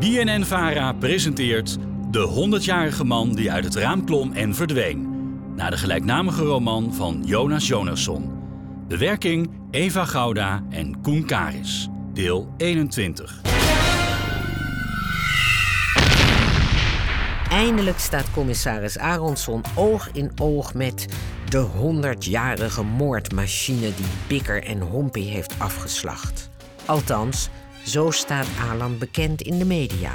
BNN Vara presenteert De 100-jarige man die uit het raam klom en verdween. Naar de gelijknamige roman van Jonas Jonasson. Bewerking Eva Gouda en Koen Karis. Deel 21. Eindelijk staat commissaris Aronson oog in oog met de 100-jarige moordmachine die Bikker en Hompy heeft afgeslacht. Althans, zo staat Alan bekend in de media.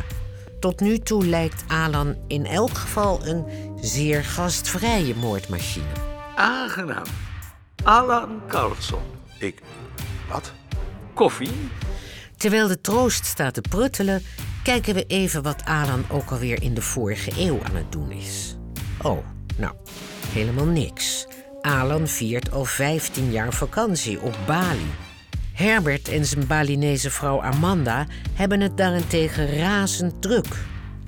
Tot nu toe lijkt Alan in elk geval een zeer gastvrije moordmachine. Aangenaam. Alan Carlson. Ik. Wat? Koffie? Terwijl de troost staat te pruttelen, kijken we even wat Alan ook alweer in de vorige eeuw aan het doen is. Oh, nou, helemaal niks. Alan viert al 15 jaar vakantie op Bali. Herbert en zijn Balinese vrouw Amanda hebben het daarentegen razend druk.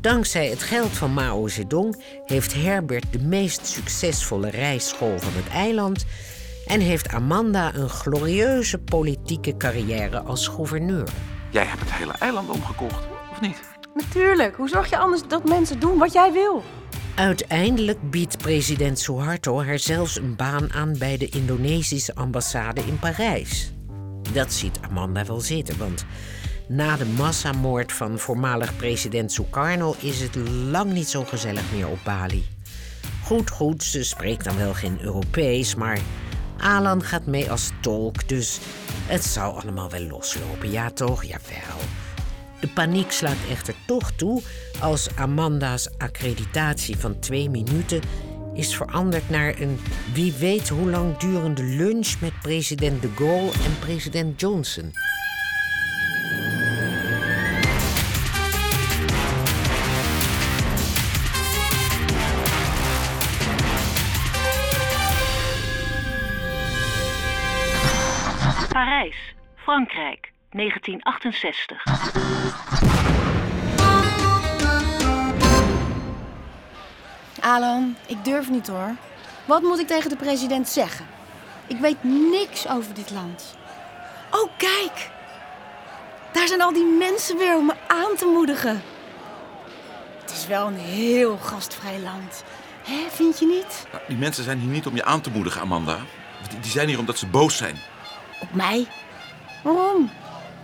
Dankzij het geld van Mao Zedong heeft Herbert de meest succesvolle rijschool van het eiland en heeft Amanda een glorieuze politieke carrière als gouverneur. Jij hebt het hele eiland omgekocht, of niet? Natuurlijk. Hoe zorg je anders dat mensen doen wat jij wil? Uiteindelijk biedt president Suharto haar zelfs een baan aan bij de Indonesische ambassade in Parijs. Dat ziet Amanda wel zitten, want na de massamoord van voormalig president Sukarno is het lang niet zo gezellig meer op Bali. Goed, goed, ze spreekt dan wel geen Europees, maar Alan gaat mee als tolk, dus het zou allemaal wel loslopen, ja toch? Jawel. De paniek slaat echter toch toe als Amanda's accreditatie van twee minuten is veranderd naar een wie weet hoe lang durende lunch met president de Gaulle en president Johnson. Parijs, Frankrijk, 1968. Alan, ik durf niet hoor. Wat moet ik tegen de president zeggen? Ik weet niks over dit land. Oh, kijk! Daar zijn al die mensen weer om me aan te moedigen. Het is wel een heel gastvrij land. Hè, vind je niet? Nou, die mensen zijn hier niet om je aan te moedigen, Amanda. Die, die zijn hier omdat ze boos zijn. Op mij? Waarom?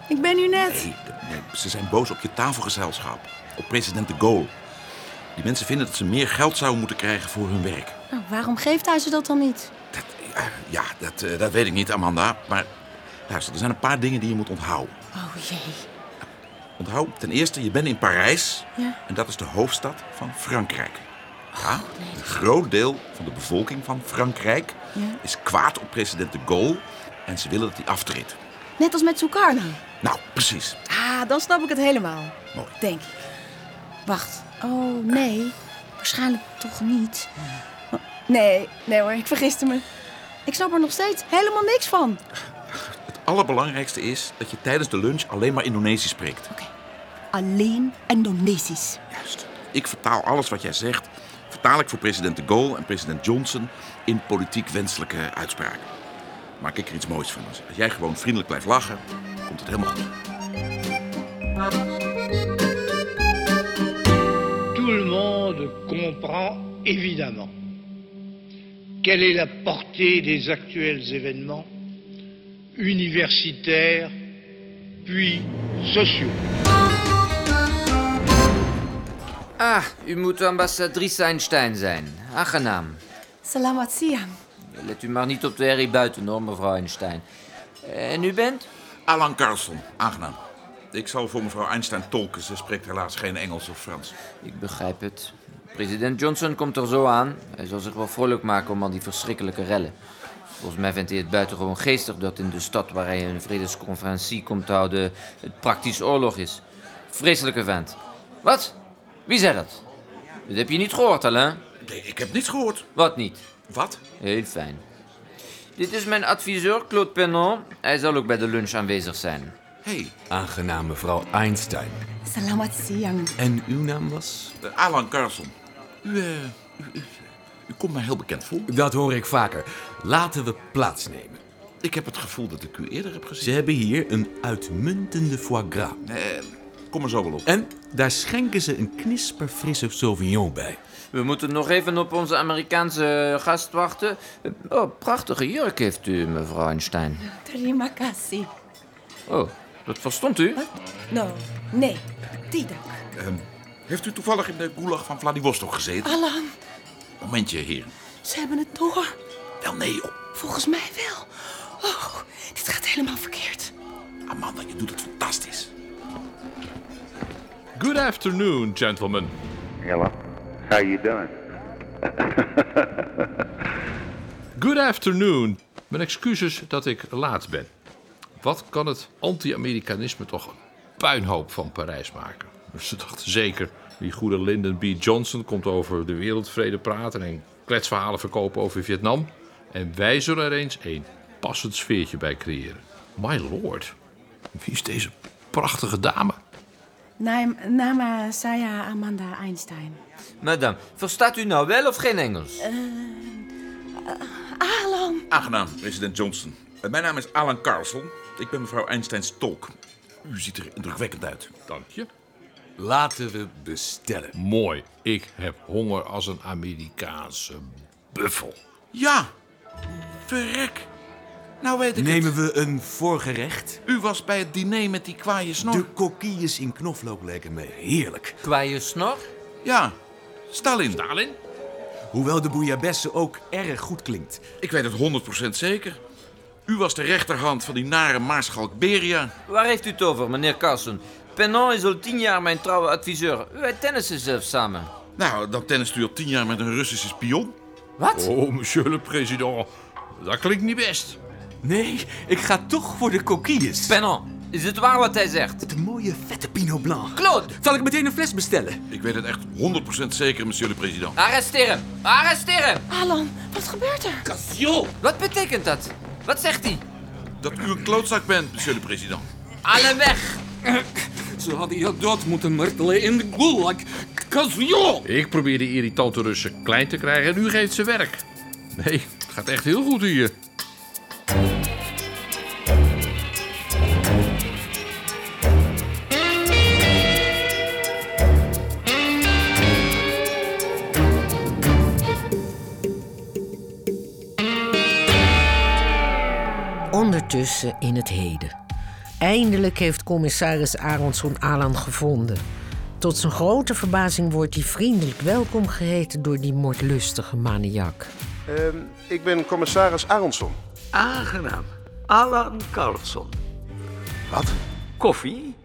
Ik ben nu net. Nee, d- nee, ze zijn boos op je tafelgezelschap. Op president de Gaulle. Die mensen vinden dat ze meer geld zouden moeten krijgen voor hun werk. Nou, waarom geeft hij ze dat dan niet? Dat, ja, ja, dat, eh, dat weet ik niet, Amanda. Maar luister, er zijn een paar dingen die je moet onthouden. Oh jee. Onthoud ten eerste, je bent in Parijs. Ja. En dat is de hoofdstad van Frankrijk. Ja, een groot deel van de bevolking van Frankrijk Ja. is kwaad op president de Gaulle. En ze willen dat hij aftreedt. Net als met Sukarno. Nou, precies. Ah, dan snap ik het helemaal. Mooi. Denk ik. Wacht. Oh, nee. Waarschijnlijk toch niet. Nee, nee hoor, ik vergiste me. Ik snap er nog steeds helemaal niks van. Het allerbelangrijkste is dat je tijdens de lunch alleen maar Indonesisch spreekt. Oké. Alleen Indonesisch. Juist. Ik vertaal alles wat jij zegt. Vertaal ik voor president de Gaulle en president Johnson in politiek wenselijke uitspraken. Maak ik er iets moois van. Als jij gewoon vriendelijk blijft lachen, komt het helemaal goed. Tout le monde comprend évidemment quelle est la portée des actuels événements universitaires puis sociaux. Ah, u moet ambassadrice Einstein zijn. Aangenaam. Salamat siam. Let u maar niet op de herrie buiten hoor, mevrouw Einstein. En u bent? Alan Carlson, aangenaam. Ik zal voor mevrouw Einstein tolken. Ze spreekt helaas geen Engels of Frans. Ik begrijp het. President Johnson komt er zo aan. Hij zal zich wel vrolijk maken om al die verschrikkelijke rellen. Volgens mij vindt hij het buitengewoon geestig dat in de stad waar hij een vredesconferentie komt te houden, het praktisch oorlog is. Vreselijke vent. Wat? Wie zei dat? Dat heb je niet gehoord, Alain. Nee, ik heb niets gehoord. Wat niet? Wat? Heel fijn. Dit is mijn adviseur, Claude Pennon. Hij zal ook bij de lunch aanwezig zijn. Hé, Aangenaam mevrouw Einstein. Salamat siam. En uw naam was? hey, Alan Carlson. U, eh, u, u- u komt mij heel bekend voor. Dat hoor ik vaker. Laten we plaatsnemen. Ik heb het gevoel dat ik u eerder heb gezien. Ze hebben hier een uitmuntende foie gras. Eh, kom er zo wel op. En Daar schenken ze een knisper frisse sauvignon bij. We moeten nog even op onze Amerikaanse eh, gast wachten. Oh, prachtige jurk heeft u, mevrouw Einstein. Terima kasih. Oh, dat verstond u? No, nee, tidak. Ehm, Heeft u toevallig in de gulag van Vladivostok gezeten? Alan, Momentje, heren. ze hebben het door. Wel nee, oh, Volgens mij wel. Oh, dit gaat helemaal verkeerd. Amanda, je doet het fantastisch. Good afternoon, gentlemen. Hello. How you doing? Good afternoon. Mijn excuses dat ik laat ben. Wat kan het anti-Amerikanisme toch een puinhoop van Parijs maken? Ze dachten zeker, die goede Lyndon B. Johnson komt over de wereldvrede praten en kletsverhalen verkopen over Vietnam. En wij zullen er eens een passend sfeertje bij creëren. My lord, wie is deze prachtige dame? Naam, nama Saya Amanda Einstein. Madame, verstaat u nou wel of geen Engels? Alan, Aangenaam, president Johnson. Eh, Mijn naam is Alan Carlson. Ik ben mevrouw Einsteins tolk. U ziet er indrukwekkend uit. Dank je. Laten we bestellen. Mooi. Ik heb honger als een Amerikaanse buffel. Ja, verrek. Nou weet ik Nemen we een voorgerecht? het. U was bij het diner met die kwaaie snor. De kokkies in knoflook lijken me heerlijk. Qua je snor? Ja, Stalin. Stalin? Hoewel de bouillabaisse ook erg goed klinkt. Ik weet het 100% zeker. U was de rechterhand van die nare maarschalk Beria. Waar heeft u het over, meneer Carson? Penon is al tien jaar mijn trouwe adviseur. Wij tennissen zelfs samen. Nou, dan tennist u al tien jaar met een Russische spion. Wat? Oh, monsieur le président. Dat klinkt niet best. Nee, ik ga toch voor de kokkies. Penon, is het waar wat hij zegt? Met een mooie vette Pinot Blanc. Claude, Zal ik meteen een fles bestellen? Ik weet het echt 100% zeker, monsieur de president. arresteer hem! Arresteer hem! Alan, wat gebeurt er? Wat betekent dat? Wat zegt hij? Dat u een klootzak bent, monsieur de president. Alle weg! Ze hadden je dood moeten martelen in de gulag. Casio! Ik probeer die irritante Russen klein te krijgen en u geeft ze werk. Nee, het gaat echt heel goed hier. Ondertussen in het heden. Eindelijk heeft commissaris Aronson Alan gevonden. Tot zijn grote verbazing wordt hij vriendelijk welkom geheten door die moordlustige maniak. Ehm, ik ben commissaris Aronson. Aangenaam. Alan Carlson. Wat? Koffie?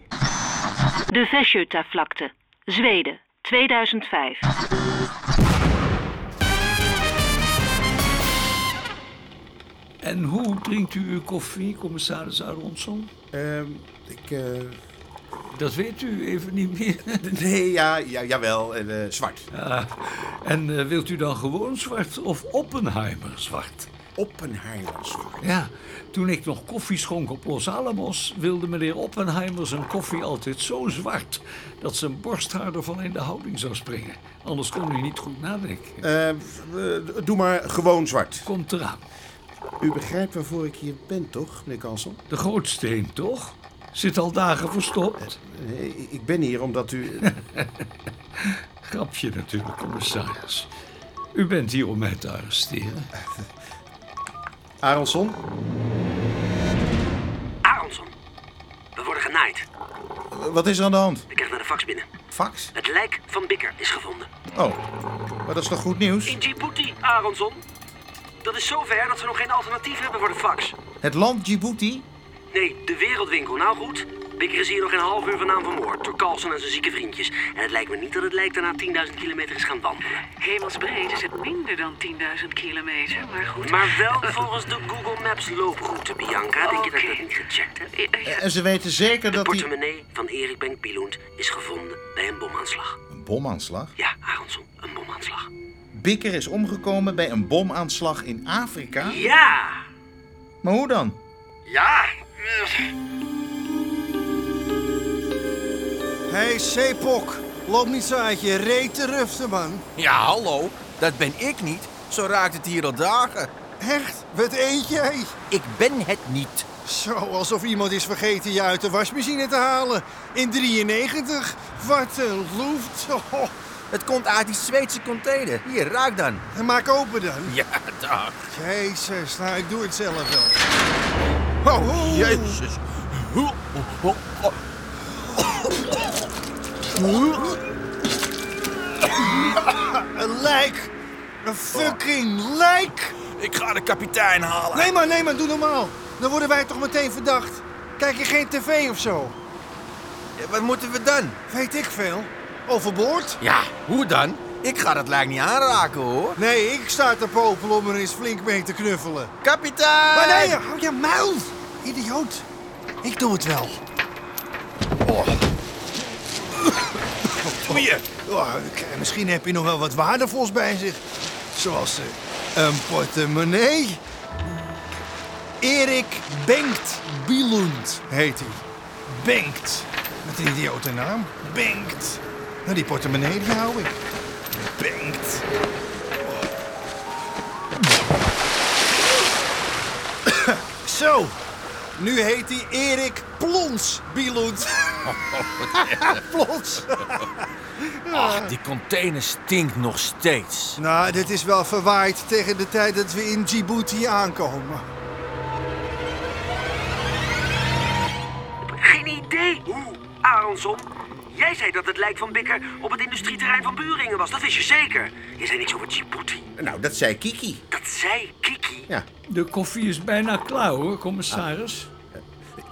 De Västgötavlakte, Zweden, 2005. En hoe drinkt u uw koffie, commissaris Aronson? Ehm, ik... eh, Dat weet u even niet meer. Ah, nee, ja, ja, jawel. En, eh, zwart. En eh, wilt u dan gewoon zwart of Oppenheimer zwart? Oppenheimer zwart. Ja, toen ik nog koffie schonk op Los Alamos... wilde meneer Oppenheimer zijn koffie altijd zo zwart... dat zijn borsthaar ervan in de houding zou springen. Anders kon hij niet goed nadenken. Eh, eh, doe maar gewoon zwart. Komt eraan. U begrijpt waarvoor ik hier ben, toch, meneer Kansel? De grootsteen, toch? Zit al dagen verstopt. Eh, Nee, ik ben hier omdat u... Grapje natuurlijk, commissaris. U bent hier om mij te arresteren. Aronson? Aronson, we worden genaaid. Wat is er aan de hand? Ik krijg naar de fax binnen. Fax? Het lijk van Bikker is gevonden. Oh, maar dat is toch goed nieuws? In Djibouti, Aronson. Dat is zover dat ze nog geen alternatief hebben voor de fax. Het land Djibouti? Nee, de wereldwinkel. Nou goed, Bikker is hier nog een half uur vandaan vermoord door Carlson en zijn zieke vriendjes. En het lijkt me niet dat het lijk daarna 10.000 kilometer is gaan wandelen. Hemelsbreed is het minder dan 10.000 kilometer, maar goed. Maar wel volgens de Google Maps looproute, Bianca. Denk je dat ik dat Oké. Eh, niet gecheckt heb? En ze weten zeker De dat die... portemonnee van Erik Benk Pilund is gevonden bij een bomaanslag. Een bomaanslag? Ja, Aronson, een bomaanslag. Bikker is omgekomen bij een bomaanslag in Afrika? Ja! Maar hoe dan? Ja! hey, Sepok. Loop niet zo uit je reet te ruften, man. Ja, hallo. Dat ben ik niet. Zo raakt het hier al dagen. Echt? Wat eet jij? Ik ben het niet. Zo, alsof iemand is vergeten je uit de wasmachine te halen. In 93. Wat een loeft. Oh. Het komt uit die Zweedse container. Hier, raak dan. En maak open dan. Ja, dag. Jezus, nou, ik doe het zelf wel. Oh, oh. Jezus. Hoe- hoe- hoe- Huh? Een lijk. Een fucking lijk. Ik ga de kapitein halen. Nee maar, nee maar, doe normaal. Dan worden wij toch meteen verdacht. Kijk je geen tv of zo? wat moeten we dan? Weet ik veel. Overboord? Ja, hoe dan? Ik ga dat lijk niet aanraken, hoor. Nee, ik sta te popelen om er eens flink mee te knuffelen. Kapitein! Maar nee, hou je muil! Idioot. Ik doe het wel. Kom hier. Oh, k- misschien heb je nog wel wat waardevols bij zich. Zoals eh, een portemonnee. Erik Bengt Bielund heet hij. Bengt. Wat een idiote naam. Bengt. Nou, die portemonnee die hou ik. Bengt. Oh. Zo. Nu heet hij Erik Plons Bielund. Oh, Plons. Ach, die container stinkt nog steeds. Nou, dit is wel verwaaid tegen de tijd dat we in Djibouti aankomen. Geen idee hoe, Aronson. Jij zei dat het lijk van Bikker op het industrieterrein van Buringen was. Dat wist je zeker. Je zei niks over Djibouti. Nou, dat zei Kiki. Dat zei Kiki. De koffie is bijna klaar hoor, commissaris.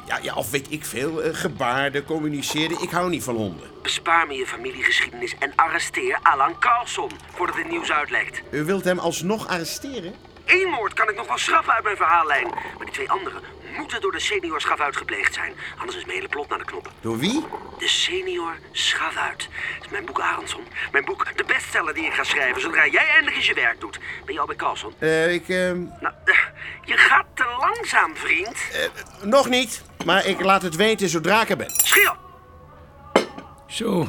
Ja, ja, of weet ik veel. eh, gebaarden, communiceren. Ik hou niet van honden. Bespaar me je familiegeschiedenis en arresteer Alan Carlson voordat het nieuws uitlekt. U wilt hem alsnog arresteren? Eén moord kan ik nog wel schrappen uit mijn verhaallijn. Maar die twee anderen moeten door de senior schavuit gepleegd zijn. Anders is mijn hele plot naar de knoppen. Door wie? De senior schavuit. Dat is mijn boek Aronson. Mijn boek, de bestseller die ik ga schrijven zodra jij eindelijk eens je werk doet. Ben je al bij Carlson? Eh, ik... ehm, Nou, eh, je gaat te langzaam, vriend. nog niet, maar ik laat het weten zodra ik er ben. Schiel! Zo,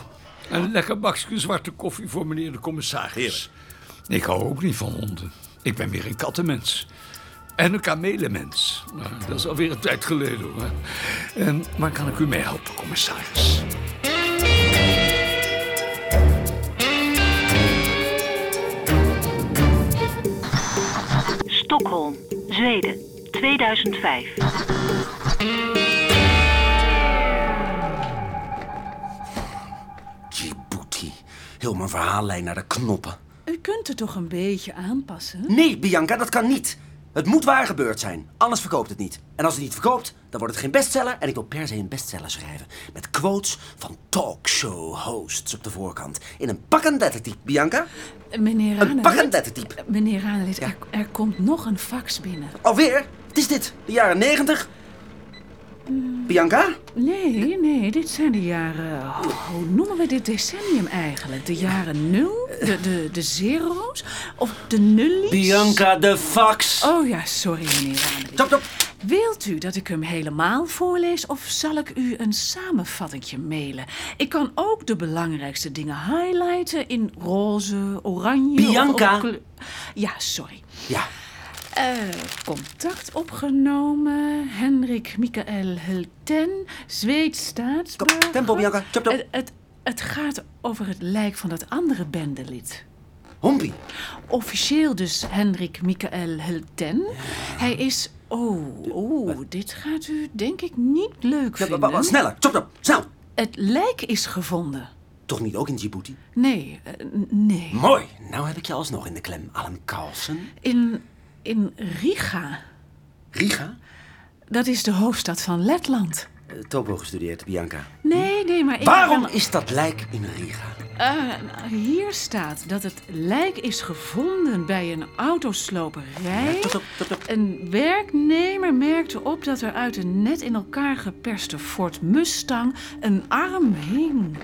een lekker bakje zwarte koffie voor meneer de commissaris. Ik hou ook niet van honden. Ik ben weer een kattenmens. En een kamelenmens. Nou, dat is alweer een tijd geleden hoor. En, maar kan ik u mee helpen, commissaris? Stockholm, Zweden, 2005. Djibouti. Heel mijn verhaallijn naar de knoppen. U kunt het toch een beetje aanpassen? Nee, Bianca, dat kan niet. Het moet waar gebeurd zijn, anders verkoopt het niet. En als het niet verkoopt, dan wordt het geen bestseller en ik wil per se een bestseller schrijven. Met quotes van talkshow hosts op de voorkant. In een pakkend lettertype, Bianca. Meneer Een pakkend Ranelid, lettertype. meneer Ranelid er, er komt nog een fax binnen. Alweer? Wat is dit? De jaren negentig? Bianca? Nee, nee, dit zijn de jaren... Hoe hoe noemen we dit decennium eigenlijk? De jaren nul? De, de, de zero's? Of de nullies? Bianca de fax. Oh ja, sorry meneer Ranelid. Stop, stop. Wilt u dat ik hem helemaal voorlees of zal ik u een samenvattingje mailen? Ik kan ook de belangrijkste dingen highlighten in roze, oranje... of- Bianca. of kleur- ja, sorry. Ja. Eh, contact opgenomen. Henrik Michael Hulten, Zweeds staatsburger. Tempo, Bianca. Chop, chop. Het, het, het gaat over het lijk van dat andere bendelid. Hompie. Officieel dus Henrik Michael Hulten. Hij is... Oh, oh, dit gaat u denk ik niet leuk Ja, wa- vinden. wa- wa- sneller, chop, chop, snel. Het lijk is gevonden. Toch niet ook in Djibouti? Nee, eh, n- nee. Mooi. Nou heb ik je alsnog in de klem, Alan Carlsen. In, in Riga. Riga? Dat is de hoofdstad van Letland. Eh, Topo gestudeerd, Bianca. Nee, nee, maar ik... Waarom is dat lijk in Riga? Eh, hier staat dat het lijk is gevonden bij een autosloperij. Een werknemer merkte op dat er uit een net in elkaar geperste Ford Mustang een arm hing.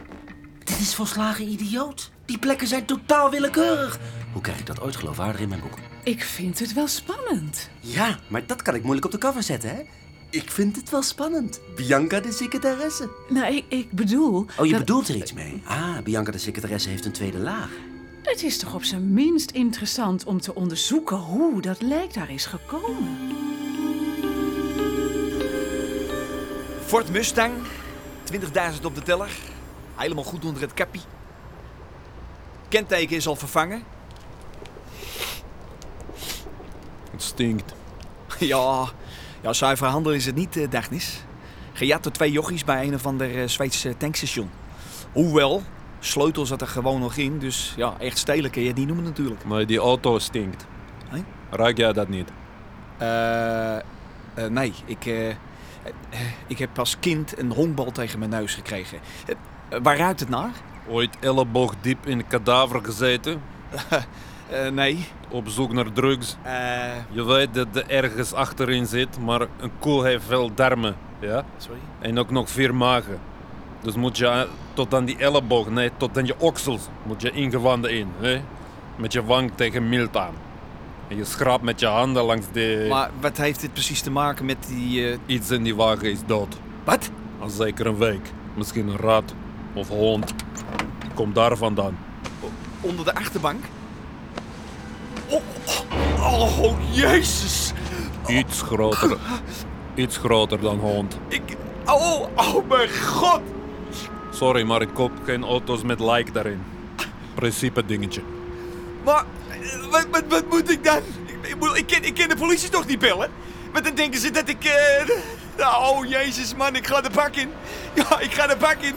Dit is volslagen idioot. Die plekken zijn totaal willekeurig. Hoe krijg ik dat ooit geloofwaardig in mijn boek? Ik vind het wel spannend. Ja, maar dat kan ik moeilijk op de cover zetten, hè? Ik vind het wel spannend. Bianca de secretaresse. Nou, ik, ik bedoel... Oh, je dat- bedoelt er iets mee? Ah, Bianca de secretaresse heeft een tweede laag. Het is toch op zijn minst interessant om te onderzoeken hoe dat lijk daar is gekomen. Ford Mustang, 20.000 op de teller. Helemaal goed onder het kappie. Kenteken is al vervangen. Het stinkt. Ja, ja zuiver handel is het niet, eh, Dagnis. Gejat door twee jochies bij een of ander eh, Zweedse tankstation. Hoewel, sleutel zat er gewoon nog in, dus ja, echt stelen kun je het niet noemen natuurlijk. Maar die auto stinkt. Hé? Ruik jij dat niet? Eh, eh, nee, ik, eh, eh, ik heb als kind een honkbal tegen mijn neus gekregen. Eh, eh, waar ruikt het naar? Ooit elleboog diep in een kadaver gezeten? Eh, nee. Eh. Op zoek naar drugs? Je weet dat er ergens achterin zit, maar een koel heeft veel darmen. Ja? Sorry? En ook nog vier magen. Dus moet je tot aan die elleboog, nee, tot aan je oksels moet je ingewanden in. Hè? Met je wang tegen mild aan. En je schraapt met je handen langs de... Maar wat heeft dit precies te maken met die... eh, Iets in die wagen is dood. Wat? Al zeker een week. Misschien een rat of hond. Kom daar vandaan. Onder de achterbank? Oh, oh, oh, jezus! Iets groter. Iets groter dan hond. Oh, oh mijn god! Sorry, maar ik koop geen auto's met like daarin. Principe dingetje. Maar eh, wat, wat, wat moet ik dan? Ik, ik, moet- ik, kan, ik kan de politie toch niet bellen? Want dan denken ze dat ik... eh, nou, oh jezus man, ik ga de bak in. Ja, ik ga de bak in.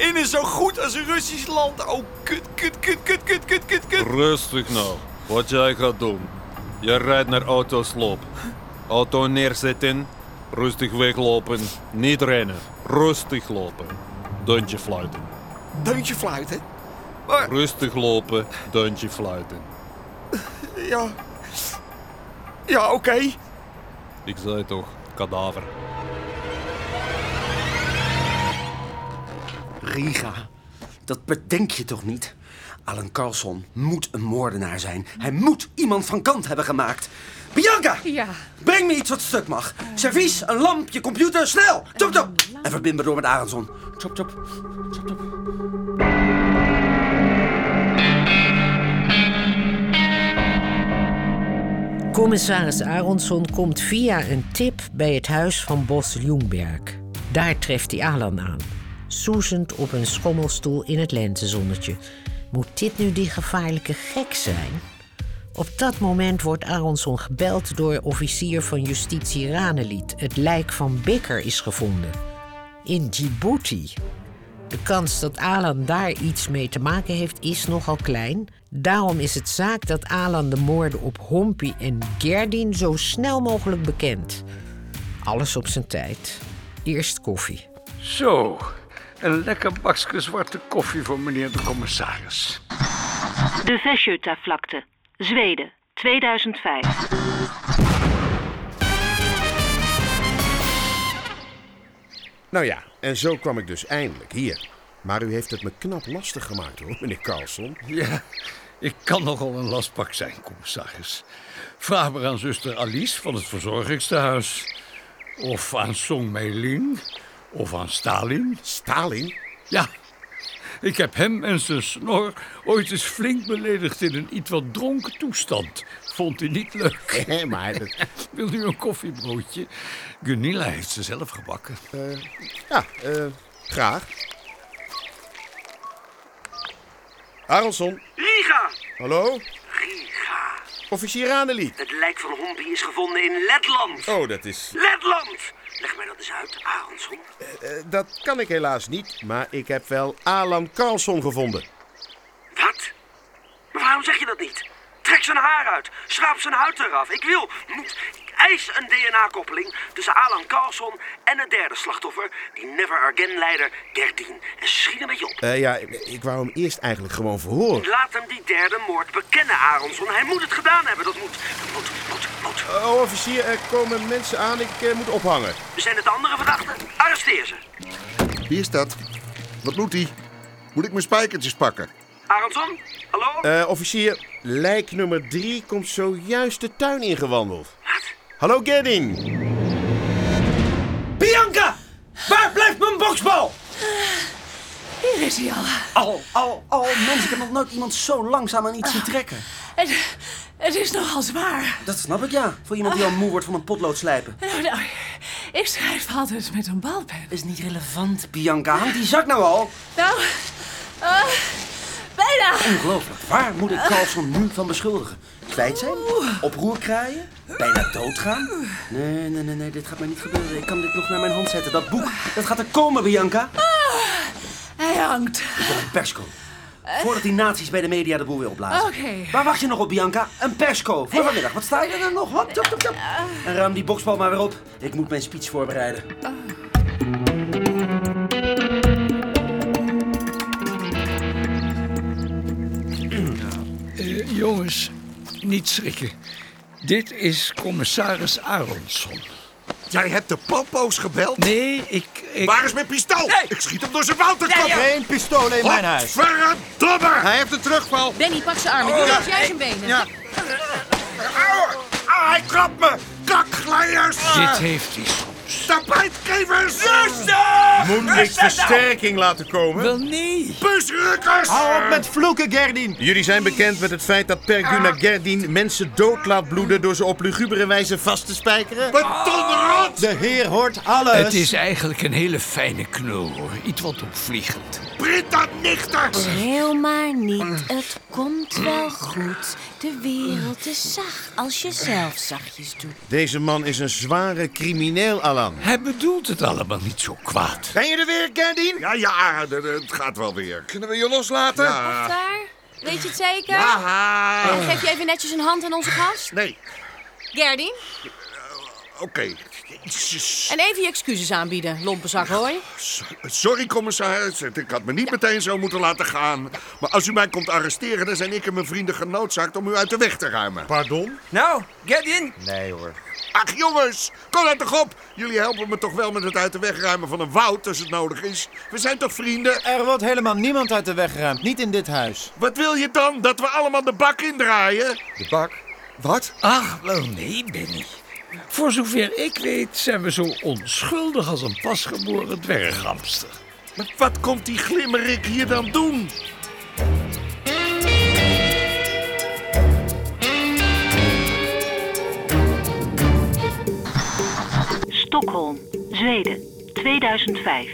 In is zo goed als een Russisch land. Oh, kut, kut, kut, kut, kut, kut, kut, kut. Rustig nou. Wat jij gaat doen. Je rijdt naar autosloop. Auto neerzetten. Rustig weglopen. Niet rennen. Rustig lopen. Deuntje fluiten. Deuntje fluiten. Rustig lopen. Deuntje fluiten. Ja. Ja, oké. Ik zei toch, kadaver. Riga, dat bedenk je toch niet? Alan Carlson moet een moordenaar zijn. Hij moet iemand van kant hebben gemaakt. Bianca! Ja. Breng me iets wat stuk mag. Servies, een lampje, computer, snel! Chop, chop! En verbind me door met Aronson. Chop, chop. Commissaris Aronson komt via een tip bij het huis van Bos Ljungberg. Daar treft hij Alan aan. Soezend op een schommelstoel in het lentezonnetje. Moet dit nu die gevaarlijke gek zijn? Op dat moment wordt Aronson gebeld door officier van justitie Ranelied. Het lijk van Bikker is gevonden. In Djibouti. De kans dat Alan daar iets mee te maken heeft is nogal klein. Daarom is het zaak dat Alan de moorden op Hompi en Gerdin zo snel mogelijk bekent. Alles op zijn tijd. Eerst koffie. Zo, een lekker bakje zwarte koffie voor meneer de commissaris. De Vesjöta-vlakte, Zweden, 2005. Nou ja, en zo kwam ik dus eindelijk hier. Maar u heeft het me knap lastig gemaakt hoor, meneer Carlson. Ja, ik kan nogal een lastpak zijn, commissaris. Vraag maar aan zuster Alice van het verzorgingstehuis. Of aan Song Meiling. Of aan Stalin. Stalin? Ja. Ik heb hem en zijn snor ooit eens flink beledigd in een iets wat dronken toestand. Vond hij niet leuk. Nee, maar... Dat... Wilt u een koffiebroodje? Gunilla heeft ze zelf gebakken. ja, eh, graag. Aronson, Riga! hallo? Riga. Officier Ranelied. Het lijk van Hompi is gevonden in Letland. Oh, dat is... Letland! Leg mij dat eens uit, Aronson. eh, eh, dat kan ik helaas niet, maar ik heb wel Alan Carlson gevonden. Wat? Maar waarom zeg je dat niet? Trek zijn haar uit. Schraap zijn huid eraf. Ik wil, moet, ik eis een DNA-koppeling tussen Alan Carlson en het derde slachtoffer, die Never Again-leider 13. En schiet een beetje op. Eh, ja, ik, ik wou hem eerst eigenlijk gewoon verhoren. Laat hem die derde moord bekennen, Aronson. Hij moet het gedaan hebben. Dat moet, dat moet, moet, moet. Oh, officier, er komen mensen aan. Ik eh, moet ophangen. Zijn het andere verdachten? Arresteer ze. Wie is dat? Wat doet hij? Moet ik mijn spijkertjes pakken? Aronson? Hallo? Eh, officier, lijk nummer drie komt zojuist de tuin ingewandeld. Wat? Hallo, Gedding. Bianca! Waar blijft mijn boksbal? Ah, Hier is hij al. Al, al, al. Mensen, ik heb nog nooit iemand zo langzaam aan iets zien trekken. Het, het is nogal zwaar. Dat snap ik, ja. Voor iemand die al moe wordt van een potlood slijpen. Nou, nou, Ik schrijf altijd met een balpen. Is niet relevant, Bianca. Hang die zak nou al. Nou, eh, bijna. Ongelooflijk. Waar moet ik Carlson nu van beschuldigen? Kwijt zijn? Oproer kraaien? Bijna doodgaan? Nee, nee, nee, nee. Dit gaat mij niet gebeuren. Ik kan dit nog naar mijn hand zetten. Dat boek, dat gaat er komen, Bianca. Eh, Hij hangt. Ik wil een persco. Voordat die nazi's bij de media de boel weer opblazen. Oké. Waar wacht je nog op, Bianca? Een persco. Voor vanmiddag. Wat sta je er nog? Hop, top, top, top. En ruim die boksbal maar weer op. Ik moet mijn speech voorbereiden. Eh, jongens, niet schrikken. Dit is commissaris Aronson. Jij hebt de popo's gebeld? Nee, ik... ik... Waar is mijn pistool? Ik schiet hem door zijn wouterkop. Nee, joh. Geen pistolen in mijn huis. Verdomme! Hij heeft een terugval. Danny, pak zijn armen. Oh, Doe ja. dat jij zijn benen. Ja. Au! Ah, hij trapt me. Kakglijers. Dit heeft hij. Tapijtgevers. Moet ik nou? versterking laten komen? Wel nee. Busrukkers. Hou op met vloeken, Gerdien. Jullie zijn bekend met het feit dat Ah. Perguna Gerdien mensen dood laat bloeden door ze op lugubere wijze vast te spijkeren. Betonrot! De heer hoort alles. Het is eigenlijk een hele fijne knul, hoor. Iets wat opvliegend. Britta nichter. Schreeuw maar niet, het komt wel goed. De wereld is zacht als je zelf zachtjes doet. Deze man is een zware crimineel, Alan. Hij bedoelt het allemaal niet zo kwaad. Ben je er weer, Gerdien? Ja, ja, d- d- het gaat wel weer. Kunnen we je loslaten? Of daar? Weet je het zeker? Ah. Ja. En geef je even netjes een hand aan onze gast? Nee, Gerdien? oké. Jezus. En even je excuses aanbieden, lompenzak hoor. Sorry, commissaris. Ik had me niet meteen zo moeten laten gaan. Maar als u mij komt arresteren, dan zijn ik en mijn vrienden genoodzaakt om u uit de weg te ruimen. Pardon? Nou, get in. Nee hoor. Ach jongens, kom nou toch op. Jullie helpen me toch wel met het uit de weg ruimen van een woud als het nodig is. We zijn toch vrienden? Er wordt helemaal niemand uit de weg geruimd, niet in dit huis. Wat wil je dan? Dat we allemaal de bak indraaien? De bak? Wat? Ach, wel nee, Benny. Voor zover ik weet zijn we zo onschuldig als een pasgeboren dwerghamster. Maar wat komt die glimmerik hier dan doen? Stockholm, Zweden, 2005.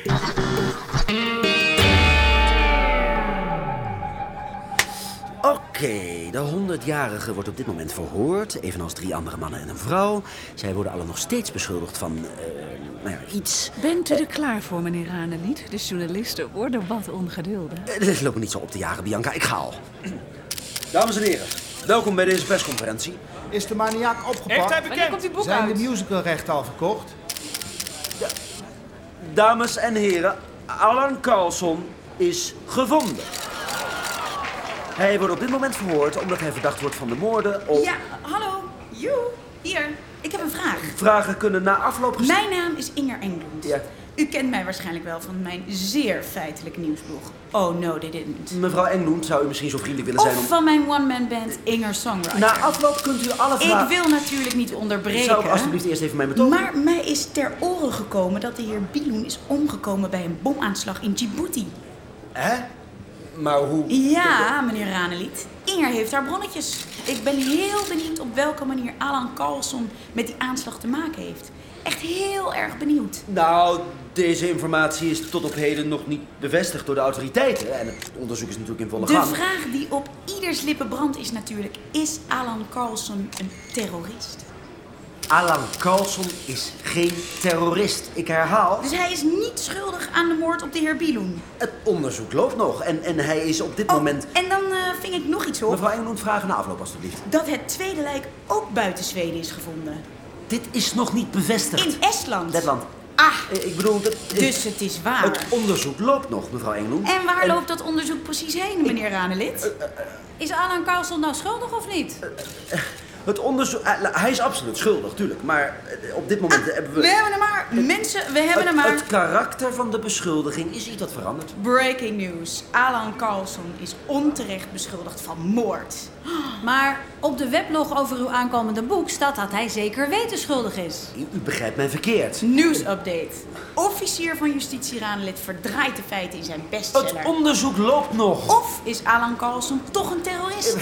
Oké, de 100-jarige wordt op dit moment verhoord, evenals drie andere mannen en een vrouw. Zij worden alle nog steeds beschuldigd van, eh, nou ja, iets. Bent u er klaar voor, meneer Ranelied? De journalisten worden wat ongeduldig. Eh, Dit loopt me niet zo op te jagen, Bianca. Ik ga al. Dames en heren, welkom bij deze persconferentie. Is de maniak opgepakt? Echt, hij bekend? Wanneer komt die boek Zijn uit? de musicalrechten al verkocht? Dames en heren, Alan Carlson is gevonden. Hij wordt op dit moment verhoord omdat hij verdacht wordt van de moorden op... Ja, hallo. Joe, hier. Ik heb een vraag. Vragen kunnen na afloop gesteld... Mijn naam is Inger Englund. Ja. U kent mij waarschijnlijk wel van mijn zeer feitelijk nieuwsblog. Oh no, they didn't. Mevrouw Englund, zou u misschien zo vriendelijk willen zijn om... Of van mijn one-man band Inger Songwriter. Na afloop kunt u alle vragen- Ik wil natuurlijk niet onderbreken. Zou ik alsjeblieft eerst even mijn betoog... Maar mij is ter oren gekomen dat de heer Biloen is omgekomen bij een bomaanslag in Djibouti. Hè? Maar hoe... Ja, meneer Ranelied. Inger heeft haar bronnetjes. Ik ben heel benieuwd op welke manier Alan Carlson met die aanslag te maken heeft. Echt heel erg benieuwd. Nou, deze informatie is tot op heden nog niet bevestigd door de autoriteiten. En het onderzoek is natuurlijk in volle De gang. vraag die op ieders lippen brandt is natuurlijk: is Alan Carlson een terrorist? Alan Carlson is geen terrorist. Ik herhaal, Dus hij is niet schuldig aan de moord op de heer Biloen. het onderzoek loopt nog. En, en hij is op dit moment... En dan eh, ving ik nog iets op: Mevrouw Engeloen, vragen na afloop alstublieft. dat het tweede lijk ook buiten Zweden is gevonden. Dit is nog niet bevestigd. In Estland. Letland. Eh, Ah, ik bedoel... Dat, dus het is waar. Het onderzoek loopt nog, mevrouw Engeloen. En waar loopt dat onderzoek precies heen, meneer Ranelid? Eh, Is Alan Carlson nou schuldig of niet? Het onderzoek... eh, la- hij is absoluut schuldig, tuurlijk. Maar eh, op dit moment hebben we... Ah, We hebben hem maar, mensen, we hebben het, hem maar. Het karakter van de beschuldiging is iets dat verandert. Breaking news. Alan Carlson is onterecht beschuldigd van moord. Maar op de weblog over uw aankomende boek staat dat hij zeker weten schuldig is. U begrijpt mij verkeerd. Nieuwsupdate. Officier van Justitie Raanlid verdraait de feiten in zijn bestseller. Oh. Het onderzoek loopt nog. Of is Alan Carlson toch een terrorist?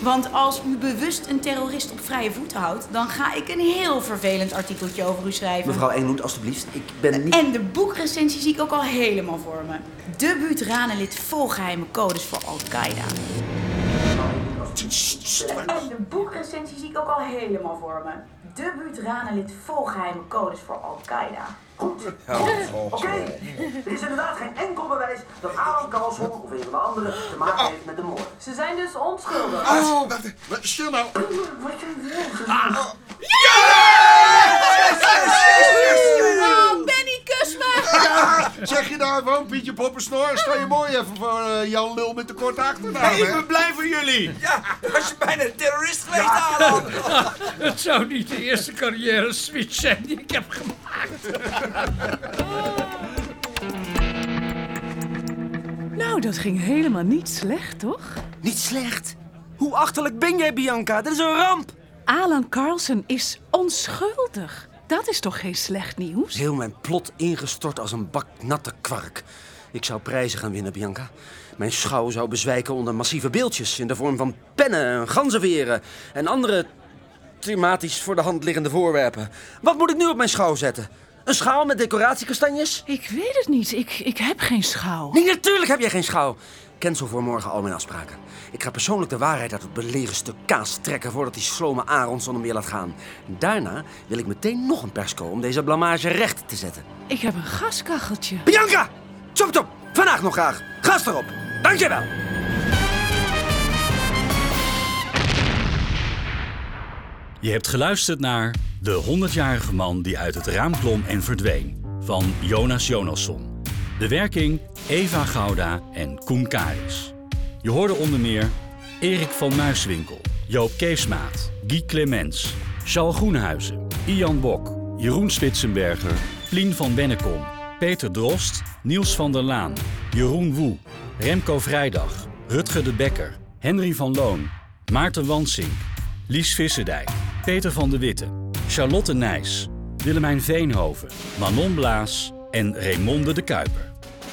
Want als u bewust een terrorist op vrije voeten houdt, dan ga ik een heel vervelend artikeltje over u schrijven. Mevrouw Engeloend, alstublieft. Ik ben niet... En de boekrecensie zie ik ook al helemaal voor me. Debuut ranelid vol geheime codes voor Al-Qaeda. En de boekrecensie zie ik ook al helemaal voor me. Debuut ranelid vol geheime codes voor Al-Qaeda. Goed. Oké, er is inderdaad geen enkel bewijs dat Alan Carlson of een van de anderen te maken heeft met de moord. Ze zijn dus onschuldig. Oh, wacht. Wat- Stil nou. Ah. Oh, Benny, kus me! Ja, zeg je nou gewoon Pietje Poppersnor? Sta je mooi even voor eh, Jan Lul met de korte achternaam, Hey, ik hè? ben blij voor jullie. Ja, was je bijna een terrorist geweest, Het zou niet de eerste carrière switch zijn die ik heb gemaakt. Nou, dat ging helemaal niet slecht, toch? Niet slecht? Hoe achterlijk ben jij, Bianca? Dit is een ramp! Alan Carlsen is onschuldig. Dat is toch geen slecht nieuws? Heel mijn plot ingestort als een bak natte kwark. Ik zou prijzen gaan winnen, Bianca. Mijn schouw zou bezwijken onder massieve beeldjes in de vorm van pennen, ganzenveren en andere thematisch voor de hand liggende voorwerpen. Wat moet ik nu op mijn schouw zetten? Een schaal met decoratiekastanjes? Ik weet het niet. Ik, ik heb geen schouw. Nee, natuurlijk heb jij geen schouw. Cancel voor morgen al mijn afspraken. Ik ga persoonlijk de waarheid uit het belegen stuk kaas trekken voordat die slome Aronson hem weer laat gaan. Daarna wil ik meteen nog een persco om deze blamage recht te zetten. Ik heb een gaskacheltje. Bianca! Chop chop! Vandaag nog graag. Gas erop. Dankjewel. Je hebt geluisterd naar De 100-jarige man die uit het raam klom en verdween van Jonas Jonasson. De werking Eva Gouda en Koen Karis. Je hoorde onder meer Erik van Muiswinkel, Joop Keesmaat, Guy Clemens, Charles Groenhuizen, Ian Bok, Jeroen Spitsenberger, Plien van Bennekom, Peter Drost, Niels van der Laan, Jeroen Woe, Remco Vrijdag, Rutger de Bekker, Henry van Loon, Maarten Wansink, Lies Visserdijk, Peter van de Witte, Charlotte Nijs, Willemijn Veenhoven, Manon Blaas en Raymonde de Kuiper.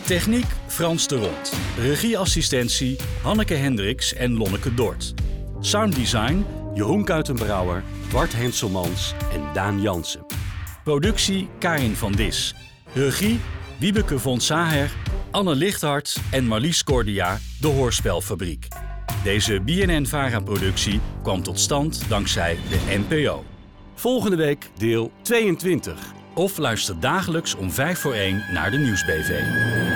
Techniek Frans de Rond. Regieassistentie Hanneke Hendricks en Lonneke Dort. Sounddesign Jeroen Kuitenbrouwer, Bart Henselmans en Daan Jansen. Productie Karin van Dis. Regie Wiebeke von Saher, Anne Lichthart en Marlies Cordia, de Hoorspelfabriek. Deze BNN-VARA-productie kwam tot stand dankzij de NPO. Volgende week deel 22. Of luister dagelijks om 5 voor 1 naar de Nieuwsbv.